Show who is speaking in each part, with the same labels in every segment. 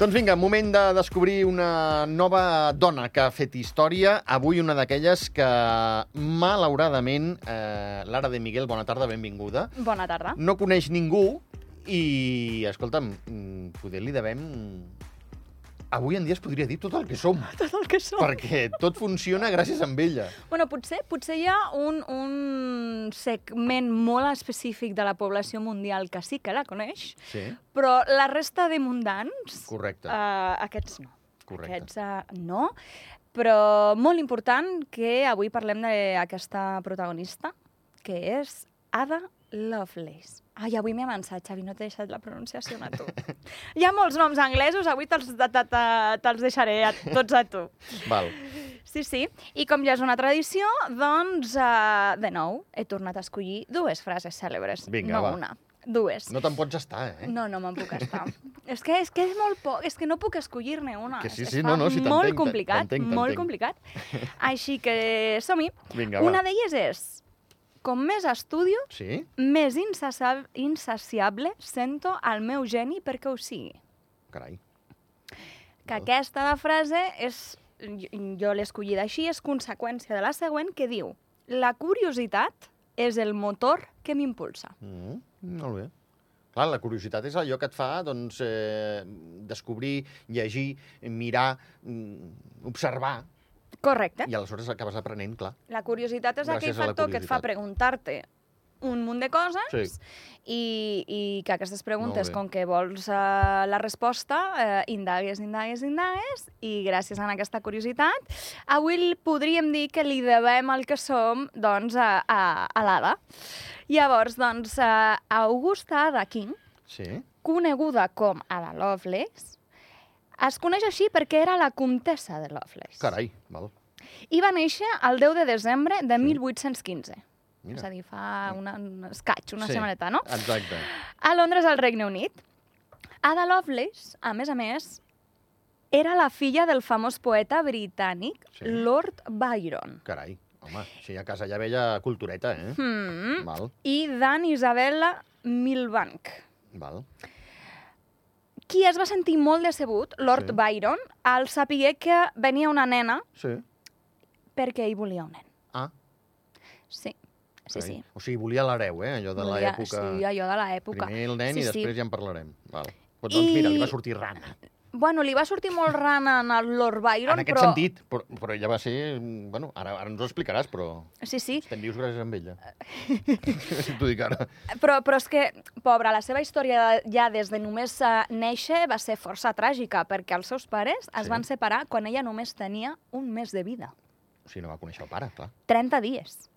Speaker 1: Doncs vinga, moment de descobrir una nova dona que ha fet història. Avui una d'aquelles que, malauradament, eh, Lara de Miguel, bona tarda, benvinguda.
Speaker 2: Bona tarda.
Speaker 1: No coneix ningú i, escolta'm, mm, poder li devem... Avui en dia es podria dir tot el que som,
Speaker 2: Tot el que som.
Speaker 1: perquè tot funciona gràcies a ella.
Speaker 2: Bueno, potser, potser hi ha un, un segment molt específic de la població mundial que sí que la coneix,
Speaker 1: Sí,
Speaker 2: però la resta de mundans,
Speaker 1: correcte,
Speaker 2: uh, aquests no.
Speaker 1: correcte.
Speaker 2: Aquests uh, no. Però molt important que avui parlem d'aquesta protagonista, que és Ada Lovelace. Ai, avui m'he avançat, Xavi, no t'he deixat la pronunciació a tu. Hi ha molts noms anglesos, avui te'ls te, te, te, te'ls deixaré a, tots a tu.
Speaker 1: Val.
Speaker 2: Sí, sí. I com ja és una tradició, doncs, uh, de nou, he tornat a escollir dues frases cèlebres.
Speaker 1: Vinga,
Speaker 2: no
Speaker 1: va.
Speaker 2: una, dues.
Speaker 1: No te'n pots estar, eh?
Speaker 2: No, no me'n puc estar. és, que, és que és molt poc, és que no puc escollir-ne una.
Speaker 1: Que sí,
Speaker 2: és
Speaker 1: sí,
Speaker 2: es
Speaker 1: no,
Speaker 2: fa
Speaker 1: no, sí, t'entenc,
Speaker 2: molt
Speaker 1: t'entenc,
Speaker 2: complicat,
Speaker 1: t'entenc.
Speaker 2: molt complicat. Així que som-hi.
Speaker 1: Vinga,
Speaker 2: Una
Speaker 1: va.
Speaker 2: d'elles és, com més estudio,
Speaker 1: Sí?
Speaker 2: més insaciable, insaciable sento el meu geni perquè ho sigui.
Speaker 1: Carai.
Speaker 2: que
Speaker 1: Val.
Speaker 2: aquesta de frase és, jo, jo l'he escollida així, és conseqüència de la següent que diu la curiositat és el motor que m'impulsa.
Speaker 1: Mm, molt bé. Clar, la curiositat és allò que et fa doncs, eh, descobrir, llegir, mirar, mm, observar,
Speaker 2: Correcte.
Speaker 1: i aleshores acabes aprenent, clar.
Speaker 2: La curiositat és
Speaker 1: Gràcies
Speaker 2: aquell
Speaker 1: a la
Speaker 2: factor que et fa
Speaker 1: curiositat.
Speaker 2: preguntar-te un munt de coses
Speaker 1: Sí.
Speaker 2: i, i que aquestes
Speaker 1: Molt
Speaker 2: preguntes,
Speaker 1: bé.
Speaker 2: com que vols uh, la resposta, uh, indagues, indagues, indagues, i gràcies a aquesta curiositat, avui li- podríem dir que li devem el que som doncs, a, a, a l'Ada. Llavors, doncs, uh, Augusta Ada King,
Speaker 1: Sí?
Speaker 2: coneguda com Ada Lovelace, es coneix així perquè era la comtessa de Lovelace.
Speaker 1: Carai, val.
Speaker 2: I va néixer el 10 de desembre de
Speaker 1: Sí.
Speaker 2: 1815.
Speaker 1: Mira.
Speaker 2: És a dir, fa una, un escaig, una
Speaker 1: Sí.
Speaker 2: sí. setmaneta, no?
Speaker 1: Exacte.
Speaker 2: A Londres, al Regne Unit. Ada Lovelace, a més a més, era la filla del famós poeta britànic
Speaker 1: Sí.
Speaker 2: Lord Byron
Speaker 1: Carai, home, sí, a casa ja veia cultureta, eh?
Speaker 2: mm.
Speaker 1: Val,
Speaker 2: i d'Anne Isabella Milbank.
Speaker 1: val.
Speaker 2: Qui es va sentir molt decebut, Lord
Speaker 1: Sí.
Speaker 2: sí. Byron, al saber que venia una nena
Speaker 1: Sí.
Speaker 2: perquè ell volia un nen.
Speaker 1: Ah,
Speaker 2: Sí, sí,
Speaker 1: carai.
Speaker 2: sí.
Speaker 1: O sigui, volia l'hereu, eh? Allò de
Speaker 2: Volia-
Speaker 1: l'època...
Speaker 2: Sí, allò de l'època.
Speaker 1: Primer el nen
Speaker 2: Sí,
Speaker 1: i
Speaker 2: sí.
Speaker 1: després ja en parlarem. Val. Doncs, doncs mira, li va
Speaker 2: I-
Speaker 1: sortir rana.
Speaker 2: Bueno, li va sortir molt rana en el Lord Byron,
Speaker 1: en aquest
Speaker 2: però...
Speaker 1: sentit, però, però ella va ser... mm, Bueno, ara, ara ens ho explicaràs, però...
Speaker 2: Sí, sí,
Speaker 1: Estem vius gràcies a eh? ella. si t'ho dic ara.
Speaker 2: però, però és que, pobra, la seva història ja des de només eh, néixer va ser força tràgica, perquè els seus pares es
Speaker 1: Sí.
Speaker 2: van separar quan ella només tenia un mes de vida.
Speaker 1: O sigui, no va conèixer el pare, clar.
Speaker 2: 30 dies.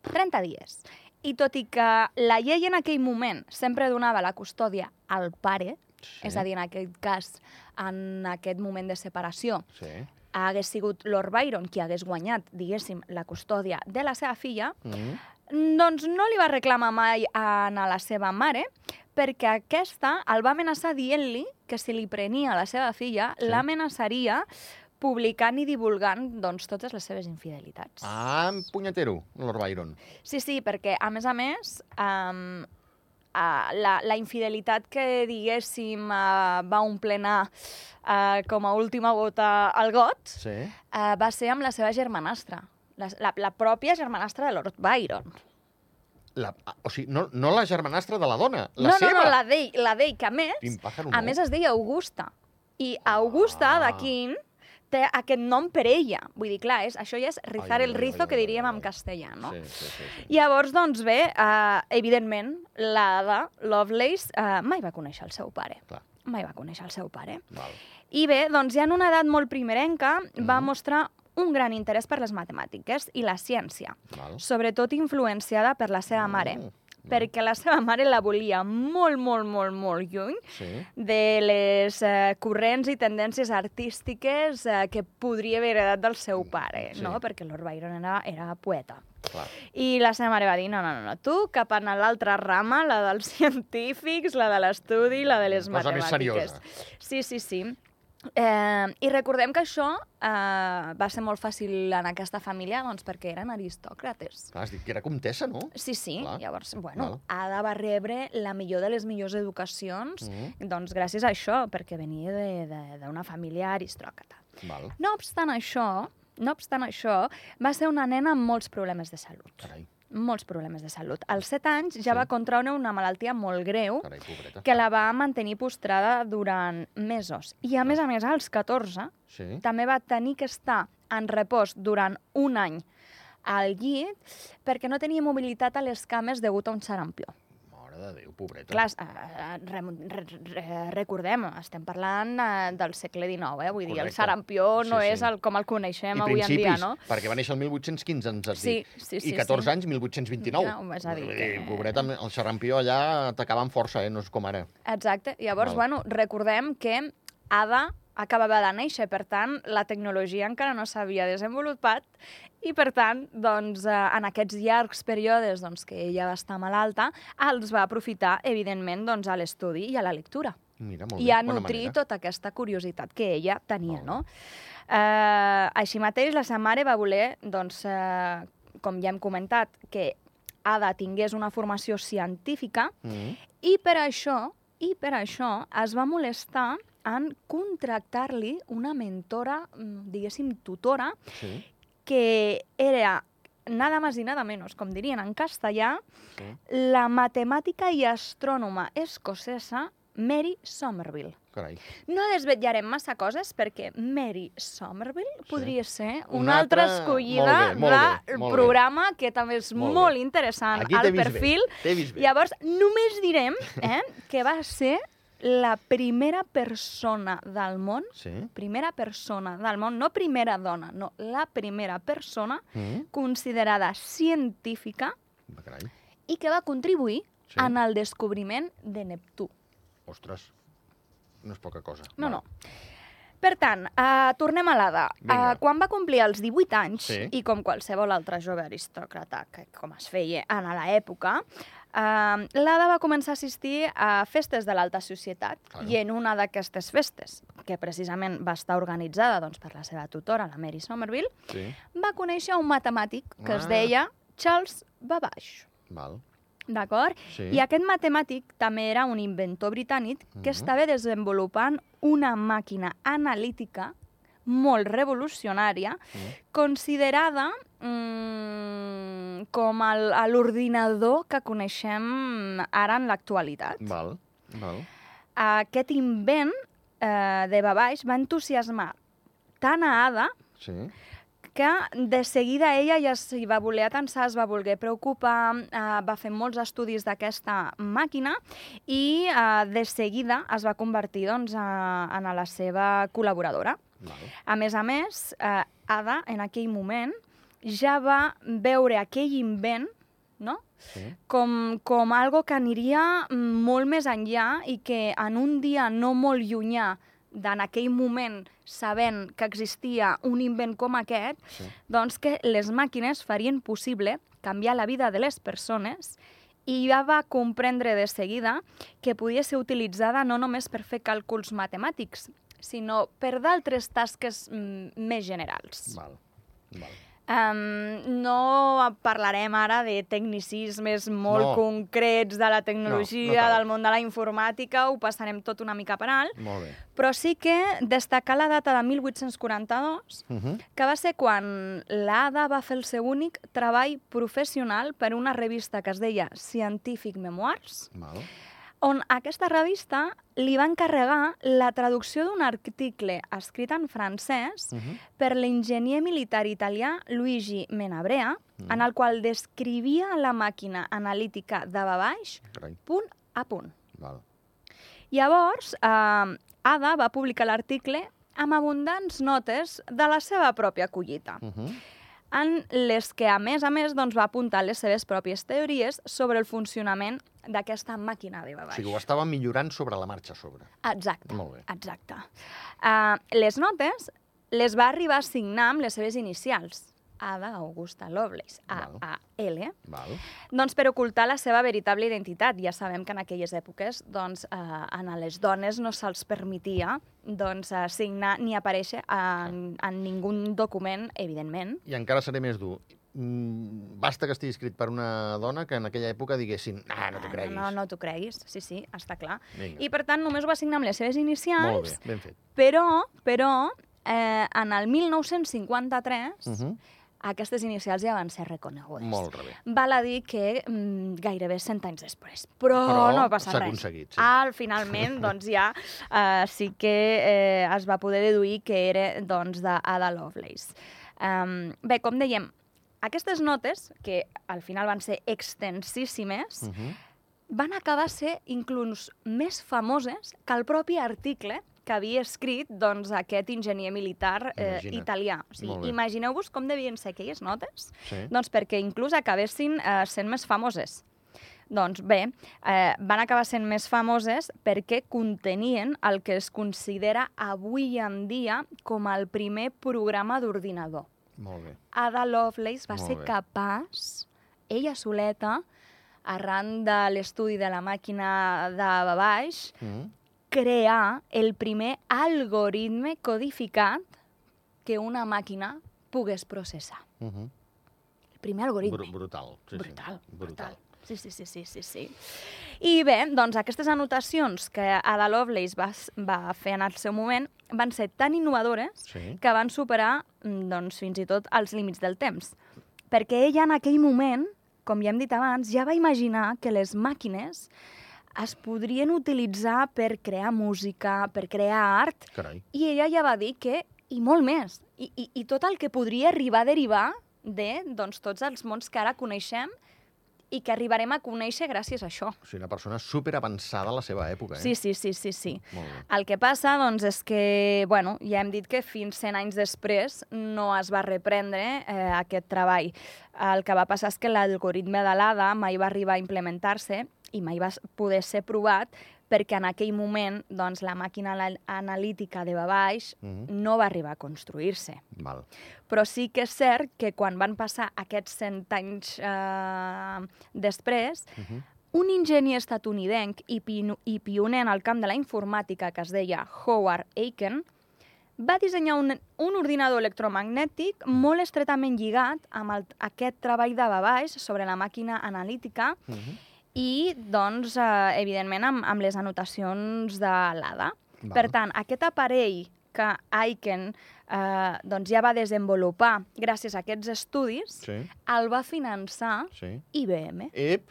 Speaker 2: 30 dies. I tot i que la llei en aquell moment sempre donava la custòdia al pare,
Speaker 1: Sí.
Speaker 2: és a dir, en aquest cas, en aquest moment de separació,
Speaker 1: Sí.
Speaker 2: hagués sigut Lord Byron qui hagués guanyat, diguéssim, la custòdia de la seva filla,
Speaker 1: Mm.
Speaker 2: Doncs no li va reclamar mai a a la seva mare, perquè aquesta el va amenaçar dient-li que si li prenia la seva filla,
Speaker 1: Sí.
Speaker 2: sí. l'amenaçaria publicant i divulgant doncs, totes les seves infidelitats.
Speaker 1: Ah, punyetero, Lord Byron.
Speaker 2: Sí, sí, perquè, a més a més, um, uh, la, la infidelitat que, diguéssim, uh, va omplenar uh, com a última gota al got,
Speaker 1: Sí.
Speaker 2: uh, va ser amb la seva germanastra, la, la, la pròpia germanastra de Lord Byron.
Speaker 1: La, ah, o sigui, no, no la germanastra de la dona, la
Speaker 2: no,
Speaker 1: seva.
Speaker 2: no, no, la d'ell, la d'ell, que a més,
Speaker 1: Quin pàjaro,
Speaker 2: a
Speaker 1: no?
Speaker 2: més es deia Augusta. I Augusta
Speaker 1: Ah.
Speaker 2: ah. d'aquí té aquest nom per ella. Vull dir, clar, és, això ja és rizar
Speaker 1: Ai,
Speaker 2: el
Speaker 1: ai,
Speaker 2: rizo,
Speaker 1: ai,
Speaker 2: que
Speaker 1: ai,
Speaker 2: diríem
Speaker 1: ai,
Speaker 2: en
Speaker 1: ai.
Speaker 2: castellà, no?
Speaker 1: Sí, sí, sí. sí.
Speaker 2: Llavors, doncs bé, uh, evidentment, l'Ada Lovelace uh, mai va conèixer el seu pare.
Speaker 1: Clar,
Speaker 2: Mai va conèixer el seu pare.
Speaker 1: val.
Speaker 2: I bé, doncs ja en una edat molt primerenca va
Speaker 1: Mhm.
Speaker 2: mostrar un gran interès per les matemàtiques i la ciència,
Speaker 1: val.
Speaker 2: sobretot influenciada per la seva mare,
Speaker 1: Mm,
Speaker 2: perquè la seva mare la volia molt, molt, molt, molt lluny
Speaker 1: Sí.
Speaker 2: de les eh, corrents i tendències artístiques eh, que podria haver heredat del seu pare,
Speaker 1: Mm, Sí.
Speaker 2: sí. no? Perquè Lord Byron era, era poeta.
Speaker 1: Clar.
Speaker 2: I la seva mare va dir, no, no, no, no tu cap a l'altra rama, la dels científics, la de l'estudi, la de les
Speaker 1: Cosa més
Speaker 2: matemàtiques.
Speaker 1: seriosa.
Speaker 2: Sí, sí, sí. Eh, I recordem que això eh, va ser molt fàcil en aquesta família doncs, perquè eren aristòcrates.
Speaker 1: Clar, has dit que era comtessa, no?
Speaker 2: Sí, sí,
Speaker 1: Clar.
Speaker 2: Clar. llavors, bueno,
Speaker 1: Val.
Speaker 2: Ada va rebre la millor de les millors educacions,
Speaker 1: Mhm.
Speaker 2: mm. doncs gràcies a això, perquè venia de- de- d'una família aristòcrata.
Speaker 1: Val.
Speaker 2: No obstant això, no obstant això, va ser una nena amb molts problemes de salut.
Speaker 1: Carai,
Speaker 2: Molts problemes de salut. Als 7 anys ja
Speaker 1: Sí.
Speaker 2: va contraure una malaltia molt greu
Speaker 1: carai, pobreta.
Speaker 2: que la va mantenir postrada durant mesos. I a més a més, als 14,
Speaker 1: Sí.
Speaker 2: també va tenir que estar en repòs durant un any al llit perquè no tenia mobilitat a les cames degut a un xarampió.
Speaker 1: Mare de Déu, pobreta.
Speaker 2: Clar, eh, eh, rem- re, re, recordem, estem parlant eh, del segle XIX, eh? vull dir, el
Speaker 1: Correcte.
Speaker 2: xarampió no
Speaker 1: Sí, sí.
Speaker 2: és el, com el
Speaker 1: I
Speaker 2: coneixem avui en
Speaker 1: principis,
Speaker 2: dia, no?
Speaker 1: perquè va néixer el 1815, ens has
Speaker 2: Sí,
Speaker 1: dit.
Speaker 2: sí, sí,
Speaker 1: I 14
Speaker 2: sí.
Speaker 1: anys, 1829.
Speaker 2: Ja, és eh? a dir
Speaker 1: Vull
Speaker 2: que-
Speaker 1: Pobreta, el xarrampió allà t'acaba amb força, eh? No és com ara.
Speaker 2: Exacte. Llavors,
Speaker 1: Val.
Speaker 2: bueno, recordem que Ada acabava de néixer, per tant, la tecnologia encara no s'havia desenvolupat i, per tant, doncs, eh, en aquests llargs períodes doncs, que ella va estar malalta, els va aprofitar, evidentment, doncs, a l'estudi i a la lectura
Speaker 1: Mira, molt
Speaker 2: i
Speaker 1: bé.
Speaker 2: a
Speaker 1: bona
Speaker 2: nutrir
Speaker 1: manera.
Speaker 2: tota aquesta curiositat que ella tenia,
Speaker 1: Molt bé.
Speaker 2: no? Eh, així mateix, la seva mare va voler, doncs, eh, com ja hem comentat, que Ada tingués una formació científica
Speaker 1: Mm.
Speaker 2: i per això, i per això es va molestar en contractar-li una mentora, mm, diguéssim, tutora,
Speaker 1: Sí,
Speaker 2: que era nada más i nada menos, com dirien en castellà,
Speaker 1: sí.
Speaker 2: la matemàtica i astrònoma escocesa Mary Somerville.
Speaker 1: Carai.
Speaker 2: No desvetllarem massa coses perquè Mary Somerville
Speaker 1: Sí.
Speaker 2: podria ser una,
Speaker 1: Una
Speaker 2: altra,
Speaker 1: altra- molt
Speaker 2: escollida
Speaker 1: bé, molt bé,
Speaker 2: del
Speaker 1: molt bé.
Speaker 2: programa que també és
Speaker 1: Molt
Speaker 2: molt,
Speaker 1: bé.
Speaker 2: interessant
Speaker 1: Aquí t'he
Speaker 2: al
Speaker 1: vist
Speaker 2: Ah, perfil.
Speaker 1: bé. T'he vist bé.
Speaker 2: Llavors, només direm eh, que va ser la primera persona del món,
Speaker 1: Sí.
Speaker 2: primera persona del món, no primera dona, no, la primera persona
Speaker 1: Mm.
Speaker 2: considerada científica
Speaker 1: Va, Carai.
Speaker 2: i que va contribuir
Speaker 1: Sí.
Speaker 2: en el descobriment de Neptú.
Speaker 1: Ostres. No és poca cosa.
Speaker 2: No,
Speaker 1: Val.
Speaker 2: no. Per tant, uh, tornem a l'Ada.
Speaker 1: Vinga.
Speaker 2: Uh, quan va complir els 18 anys,
Speaker 1: Sí.
Speaker 2: i com qualsevol altre jove aristòcrata, que com es feia en l'època, uh, l'Ada va començar a assistir a festes de l'alta societat,
Speaker 1: Claro.
Speaker 2: i en una d'aquestes festes, que precisament va estar organitzada doncs, per la seva tutora, la Mary Somerville,
Speaker 1: Sí.
Speaker 2: va conèixer un matemàtic que
Speaker 1: Ah.
Speaker 2: es deia Charles Babbage.
Speaker 1: Val.
Speaker 2: D'acord?
Speaker 1: Sí.
Speaker 2: I aquest matemàtic també era un inventor britànic
Speaker 1: Mhm.
Speaker 2: que estava desenvolupant una màquina analítica molt revolucionària,
Speaker 1: Mm.
Speaker 2: considerada mm, com el- a l'ordinador que coneixem ara en l'actualitat.
Speaker 1: Val. Val.
Speaker 2: Aquest invent eh, de Babaix va entusiasmar tant a Ada
Speaker 1: Sí.
Speaker 2: que de seguida ella ja s'hi va voler atensar, es va voler preocupar, eh, va fer molts estudis d'aquesta màquina i eh, de seguida es va convertir doncs, a, en la seva col·laboradora.
Speaker 1: Val.
Speaker 2: A més a més, eh, Ada, en aquell moment, ja va veure aquell invent no?
Speaker 1: Sí.
Speaker 2: com, com algo que aniria molt més enllà i que en un dia no molt llunyà d'en aquell moment, sabent que existia un invent com aquest,
Speaker 1: Sí.
Speaker 2: doncs que les màquines farien possible canviar la vida de les persones i ja va comprendre de seguida que podia ser utilitzada no només per fer càlculs matemàtics, sinó per d'altres tasques mm, més generals.
Speaker 1: Val. Val.
Speaker 2: Um, no parlarem ara de tecnicismes molt
Speaker 1: No.
Speaker 2: concrets de la
Speaker 1: No,
Speaker 2: tecnologia,
Speaker 1: no cal.
Speaker 2: del món de la informàtica, ho passarem tot una mica per alt,
Speaker 1: Molt bé.
Speaker 2: però sí que destacar la data de 1842
Speaker 1: Uh -huh.
Speaker 2: que va ser quan l'Ada va fer el seu únic treball professional per una revista que es deia Scientific Memoirs,
Speaker 1: Val.
Speaker 2: on aquesta revista li va encarregar la traducció d'un article escrit en francès
Speaker 1: Uh -huh.
Speaker 2: per l'enginyer militar italià Luigi Menabrea,
Speaker 1: Mm.
Speaker 2: en el qual descrivia la màquina analítica de Babaix
Speaker 1: Carai.
Speaker 2: punt a punt.
Speaker 1: Val.
Speaker 2: Llavors, eh, Ada va publicar l'article amb abundants notes de la seva pròpia collita
Speaker 1: Uh -huh.
Speaker 2: en les que, a més a més, doncs, va apuntar les seves pròpies teories sobre el funcionament d'aquesta màquina de
Speaker 1: O
Speaker 2: babaix.
Speaker 1: sigui, ho estava millorant sobre la marxa a sobre.
Speaker 2: Exacte. Eh,
Speaker 1: Molt bé.
Speaker 2: Exacte. Uh, les notes les va arribar a signar amb les seves inicials, Ada Augusta Lovelace,
Speaker 1: Val.
Speaker 2: A-A-L,
Speaker 1: Val.
Speaker 2: doncs per ocultar la seva veritable identitat. Ja sabem que en aquelles èpoques doncs, eh, a les dones no se'ls permetia doncs, eh, signar ni aparèixer en, en ningú document, evidentment.
Speaker 1: I encara seré més dur. Mm, Basta que estigui escrit per una dona que en aquella època diguessin ah, no t'ho creguis.
Speaker 2: No, no t'ho creguis, sí, sí, està clar.
Speaker 1: Vinga.
Speaker 2: I per tant només ho va signar amb les seves inicials,
Speaker 1: Molt bé, ben fet.
Speaker 2: però, però eh, en el 1953
Speaker 1: Uh -huh.
Speaker 2: aquestes inicials ja van ser reconegudes.
Speaker 1: Molt rebé.
Speaker 2: Val a dir que mm, gairebé 100 anys després. Però,
Speaker 1: Però
Speaker 2: no va passar
Speaker 1: s'ha
Speaker 2: res.
Speaker 1: aconseguit, sí.
Speaker 2: Al, finalment, doncs ja eh, sí que eh, es va poder deduir que era doncs, d'Ada Lovelace. Um, bé, com dèiem, aquestes notes, que al final van ser extensíssimes,
Speaker 1: Uh -huh.
Speaker 2: van acabar ser inclús més famoses que el propi article que havia escrit doncs, aquest enginyer militar eh,
Speaker 1: Imagina't.
Speaker 2: italià. O sigui,
Speaker 1: Molt bé.
Speaker 2: Imagineu-vos com devien ser aquelles notes
Speaker 1: Sí.
Speaker 2: doncs perquè inclús acabessin eh, sent més famoses. Doncs bé, eh, van acabar sent més famoses perquè contenien el que es considera avui en dia com el primer programa d'ordinador.
Speaker 1: Molt bé.
Speaker 2: Ada Lovelace va
Speaker 1: Molt
Speaker 2: ser
Speaker 1: bé.
Speaker 2: capaç, ella soleta, arran de l'estudi de la màquina de baix,
Speaker 1: Mm.
Speaker 2: crear el primer algoritme codificat que una màquina pogués processar.
Speaker 1: Uh -huh.
Speaker 2: El primer algoritme.
Speaker 1: Br brutal. Sí,
Speaker 2: brutal,
Speaker 1: sí.
Speaker 2: brutal. Sí, sí, sí, sí, sí, sí. I bé, doncs aquestes anotacions que Ada Lovelace va, s- va fer en el seu moment van ser tan innovadores
Speaker 1: Sí.
Speaker 2: que van superar mm, doncs, fins i tot els límits del temps. Perquè ella en aquell moment, com ja hem dit abans, ja va imaginar que les màquines es podrien utilitzar per crear música, per crear art,
Speaker 1: Carai.
Speaker 2: i ella ja va dir que, i molt més, i, i, i tot el que podria arribar a derivar de doncs, tots els mons que ara coneixem i que arribarem a conèixer gràcies a això.
Speaker 1: O sigui, una persona superavançada a la seva època, eh?
Speaker 2: Sí, sí, sí, sí, sí.
Speaker 1: Molt bé.
Speaker 2: El que passa, doncs, és que, bueno, ja hem dit que fins 100 anys després no es va reprendre eh, aquest treball. El que va passar és que l'algoritme de l'ADA mai va arribar a implementar-se i mai va s- poder ser provat perquè en aquell moment doncs, la màquina anal- analítica de Babaix
Speaker 1: Mhm.
Speaker 2: no va arribar a construir-se.
Speaker 1: Val.
Speaker 2: Però sí que és cert que quan van passar aquests 100 anys eh, després,
Speaker 1: Uh -huh.
Speaker 2: un enginyer estatunidenc i, pinu- i pioner en el camp de la informàtica que es deia Howard Aiken va dissenyar un, un ordinador electromagnètic molt estretament lligat amb el, aquest treball de Babaix sobre la màquina analítica
Speaker 1: Uh -huh.
Speaker 2: i, doncs, eh, evidentment, amb, amb les anotacions de l'ADA.
Speaker 1: Val.
Speaker 2: Per tant, aquest aparell que Aiken eh, doncs ja va desenvolupar gràcies a aquests estudis,
Speaker 1: Sí,
Speaker 2: el va finançar
Speaker 1: sí.
Speaker 2: IBM.
Speaker 1: Ep,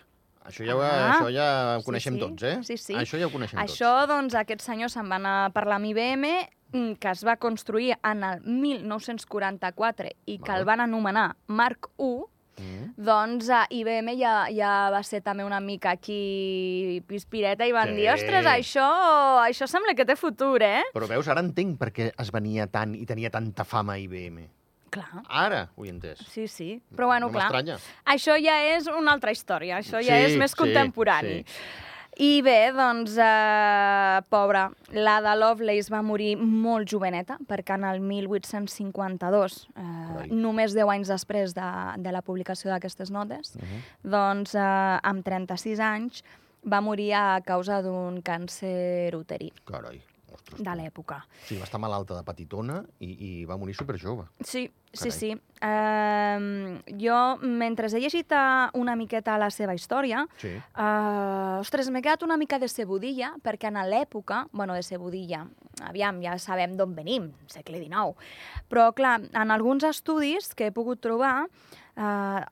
Speaker 1: això ja, ho,
Speaker 2: Ah.
Speaker 1: això ja ho
Speaker 2: Sí,
Speaker 1: coneixem
Speaker 2: sí.
Speaker 1: tots, eh?
Speaker 2: Sí, sí.
Speaker 1: Això ja ho coneixem
Speaker 2: Això, doncs, aquest senyor se'n va anar a parlar amb IBM, mm, que es va construir en el 1944 i que
Speaker 1: Val.
Speaker 2: el van anomenar Marc I,
Speaker 1: tots. Mm.
Speaker 2: doncs eh, IBM ja, ja va ser també una mica aquí pispireta i van
Speaker 1: Sí.
Speaker 2: dir, ostres, això, això sembla que té futur, eh?
Speaker 1: Però veus, ara entenc per què es venia tant i tenia tanta fama IBM.
Speaker 2: Clar,
Speaker 1: Ara ho he entès.
Speaker 2: sí, sí. Però bueno,
Speaker 1: no
Speaker 2: clar,
Speaker 1: m'estranya.
Speaker 2: això ja és una altra història, això ja
Speaker 1: Sí,
Speaker 2: és més
Speaker 1: sí,
Speaker 2: contemporani.
Speaker 1: sí.
Speaker 2: I bé, doncs, eh, pobra, l'Ada Lovelace va morir molt joveneta, perquè en el 1852, eh,
Speaker 1: Carai.
Speaker 2: només 10 anys després de, de la publicació d'aquestes notes,
Speaker 1: Uh -huh.
Speaker 2: doncs, eh, amb 36 anys, va morir a causa d'un càncer uterí
Speaker 1: Carai. Ostres,
Speaker 2: de
Speaker 1: tu.
Speaker 2: l'època.
Speaker 1: O sigui, va estar malalta de petitona i, i va morir superjove.
Speaker 2: Sí, sí,
Speaker 1: Carai.
Speaker 2: sí. Um, jo, mentre he llegit eh, una miqueta la seva història,
Speaker 1: Sí.
Speaker 2: Uh, ostres, m'he quedat una mica de cebodilla, perquè en l'època, bueno, de cebodilla, aviam, ja sabem d'on venim, segle XIX, però, clar, en alguns estudis que he pogut trobar, uh, a,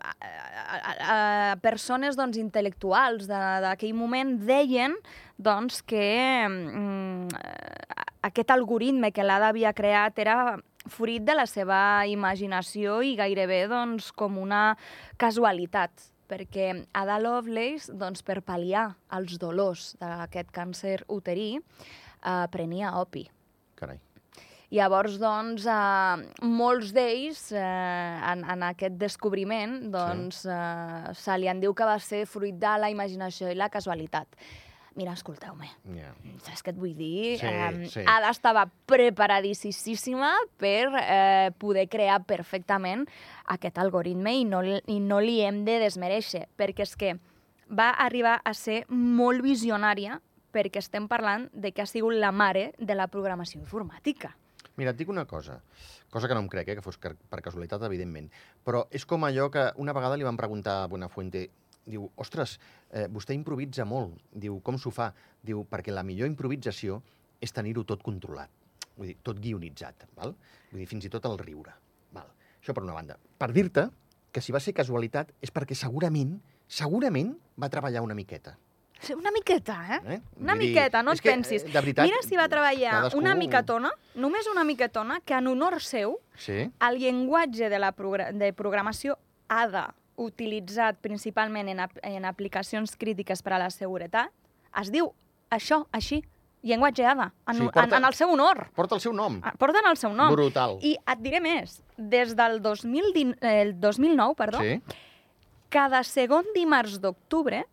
Speaker 2: a, a, a persones doncs, intel·lectuals de- d'aquell moment deien doncs, que mm, eh, aquest algoritme que l'Ada havia creat era fruit de la seva imaginació i gairebé doncs, com una casualitat perquè Ada Lovelace, doncs, per pal·liar els dolors d'aquest càncer uterí, eh, prenia opi.
Speaker 1: Carai.
Speaker 2: Llavors, doncs, eh, molts d'ells, eh, en, en aquest descobriment, doncs, eh, se li en diu que va ser fruit de la imaginació i la casualitat. mira, escolteu-me,
Speaker 1: Ja.
Speaker 2: saps què et vull dir? Eh,
Speaker 1: Sí,
Speaker 2: Em,
Speaker 1: sí.
Speaker 2: Ada estava preparadíssima per eh, poder crear perfectament aquest algoritme i no, l- i no li hem de desmereixer, perquè és que va arribar a ser molt visionària perquè estem parlant de que ha sigut la mare de la programació informàtica.
Speaker 1: Mira, et dic una cosa, cosa que no em crec, eh, que fos car- per casualitat, evidentment, però és com allò que una vegada li van preguntar a Buenafuente, diu, ostres, eh, vostè improvisa molt, diu, com s'ho fa? Diu, perquè la millor improvisació és tenir-ho tot controlat, vull dir, tot guionitzat, val? vull dir, fins i tot el riure. Val? Això per una banda. Per dir-te que si va ser casualitat és perquè segurament, segurament va treballar una miqueta.
Speaker 2: Una miqueta, eh?
Speaker 1: Eh?
Speaker 2: Una
Speaker 1: Vull dir,
Speaker 2: miqueta, no
Speaker 1: és
Speaker 2: et
Speaker 1: que, eh,
Speaker 2: pensis.
Speaker 1: De veritat,
Speaker 2: Mira si va treballar
Speaker 1: cadascú-
Speaker 2: una micatona, només una micatona, que en honor seu,
Speaker 1: Sí,
Speaker 2: el llenguatge de, la progra de programació ADA, utilitzat principalment en, ap en aplicacions crítiques per a la seguretat, es diu això, així, llenguatge ADA, en,
Speaker 1: Sí,
Speaker 2: sí,
Speaker 1: porta-
Speaker 2: en, en el seu honor.
Speaker 1: porta el seu nom.
Speaker 2: Ah, Porten el seu nom.
Speaker 1: Brutal.
Speaker 2: I et diré més, des del 2010, eh, el 2009, perdó,
Speaker 1: Sí.
Speaker 2: cada segon dimarts d'octubre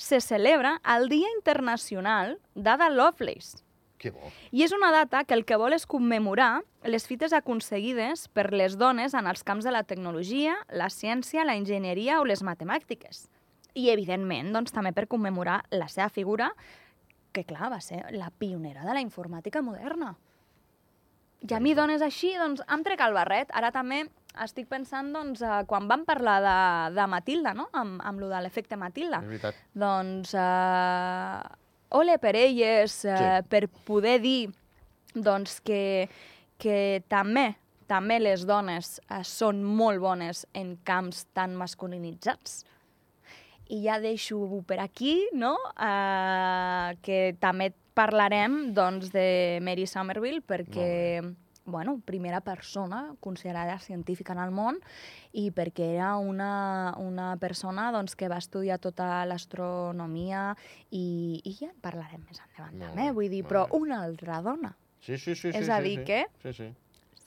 Speaker 2: se celebra el Dia Internacional d'Ada Lovelace.
Speaker 1: Que bo.
Speaker 2: I és una data que el que vol és commemorar les fites aconseguides per les dones en els camps de la tecnologia, la ciència, la enginyeria o les matemàtiques. I, evidentment, doncs, també per commemorar la seva figura, que, clar, va ser la pionera de la informàtica moderna. I a mi, dones així, doncs, em trec el barret. Ara també estic pensant, doncs, eh, quan vam parlar de, de Matilda, no?, amb, amb lo de l'efecte Matilda.
Speaker 1: És veritat.
Speaker 2: Doncs, eh, ole per elles,
Speaker 1: Sí.
Speaker 2: eh, sí. per poder dir doncs, que, que també també les dones eh, són molt bones en camps tan masculinitzats. I ja deixo per aquí, no?, eh, que també parlarem doncs, de Mary Somerville perquè, bueno, primera persona considerada científica en el món i perquè era una, una persona doncs, que va estudiar tota l'astronomia i, i ja en parlarem més endavant
Speaker 1: Molt
Speaker 2: també,
Speaker 1: bé,
Speaker 2: vull dir,
Speaker 1: molt
Speaker 2: però
Speaker 1: bé.
Speaker 2: una altra dona.
Speaker 1: Sí, sí, sí.
Speaker 2: És
Speaker 1: sí,
Speaker 2: a
Speaker 1: sí,
Speaker 2: dir
Speaker 1: sí.
Speaker 2: que-
Speaker 1: Sí, sí.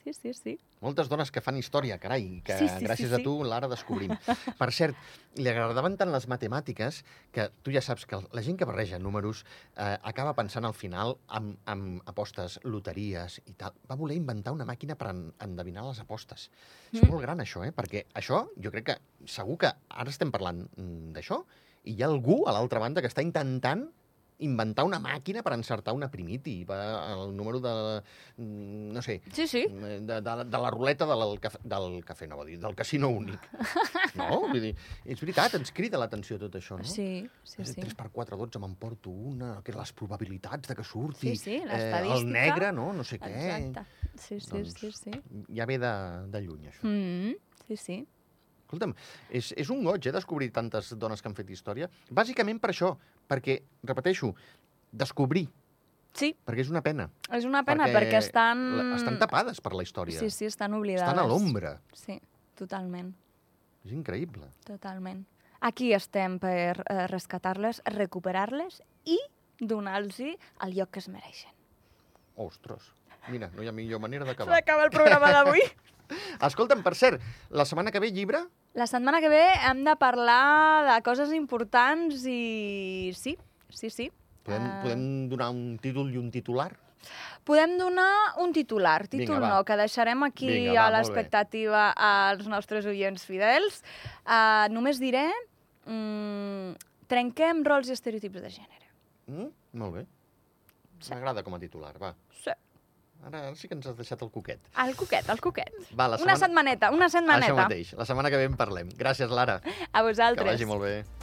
Speaker 2: Sí, sí, sí.
Speaker 1: Moltes dones que fan història, carai, que
Speaker 2: Sí, sí, sí,
Speaker 1: gràcies
Speaker 2: sí.
Speaker 1: a tu l'ara descobrim. per cert, li agradaven tant les matemàtiques que tu ja saps que la gent que barreja números eh, acaba pensant al final en, en apostes, loteries i tal. Va voler inventar una màquina per en, endevinar les apostes. És
Speaker 2: Mm.
Speaker 1: molt gran això, eh? Perquè això, jo crec que segur que ara estem parlant mm, d'això i hi ha algú a l'altra banda que està intentant inventar una màquina per encertar una primiti, per, el número de... mm, no sé,
Speaker 2: Sí, sí.
Speaker 1: Eh, de, de, de la ruleta de del, caf- del cafè, no va dir, del casino únic. No? Vull dir, és veritat, ens crida l'atenció tot això, no?
Speaker 2: Sí, sí, sí.
Speaker 1: 3 per 4, 12, m'emporto una, que les probabilitats de que surti eh,
Speaker 2: Sí, sí,
Speaker 1: el
Speaker 2: l'estadística.
Speaker 1: negre, no? No sé què.
Speaker 2: Exacte. Sí, sí,
Speaker 1: Doncs-
Speaker 2: sí, sí.
Speaker 1: Ja ve de, de lluny, això.
Speaker 2: Mm, sí, sí.
Speaker 1: Escolta'm, és, és un goig, eh, descobrir tantes dones que han fet història. Bàsicament per això, perquè, repeteixo, descobrir,
Speaker 2: Sí,
Speaker 1: perquè és una pena.
Speaker 2: és una pena perquè, perquè estan...
Speaker 1: la- Estan tapades per la història.
Speaker 2: Mm. Sí, sí, estan oblidades.
Speaker 1: estan a l'ombra.
Speaker 2: Sí, totalment,
Speaker 1: És increïble.
Speaker 2: totalment. Aquí estem per eh, rescatar-les, recuperar-les i donar-los el lloc que es mereixen.
Speaker 1: Ostres, mira, no hi ha millor manera d'acabar.
Speaker 2: S'acaba el programa d'avui.
Speaker 1: Escolta'm, per cert, la setmana que ve llibre?
Speaker 2: La setmana que ve hem de parlar de coses importants i... Sí, sí, sí.
Speaker 1: Podem,
Speaker 2: Ah.
Speaker 1: podem donar un títol i un titular?
Speaker 2: Podem donar un titular, títol
Speaker 1: Vinga, va.
Speaker 2: no, que deixarem aquí
Speaker 1: Vinga, va,
Speaker 2: a
Speaker 1: molt bé.
Speaker 2: l'expectativa als nostres oients fidels. Uh, només diré... Mm, trenquem rols i estereotips de gènere.
Speaker 1: Mm? Molt bé.
Speaker 2: Sí.
Speaker 1: M'agrada com a titular, va.
Speaker 2: Sí.
Speaker 1: Ara, ara sí que ens has deixat el coquet.
Speaker 2: El coquet, el coquet.
Speaker 1: Va, la
Speaker 2: Una
Speaker 1: setmana...
Speaker 2: setmaneta, una
Speaker 1: Això
Speaker 2: setmaneta.
Speaker 1: mateix. La setmana que ve en parlem. Gràcies, Lara.
Speaker 2: A
Speaker 1: Que
Speaker 2: vosaltres.
Speaker 1: vagi molt bé.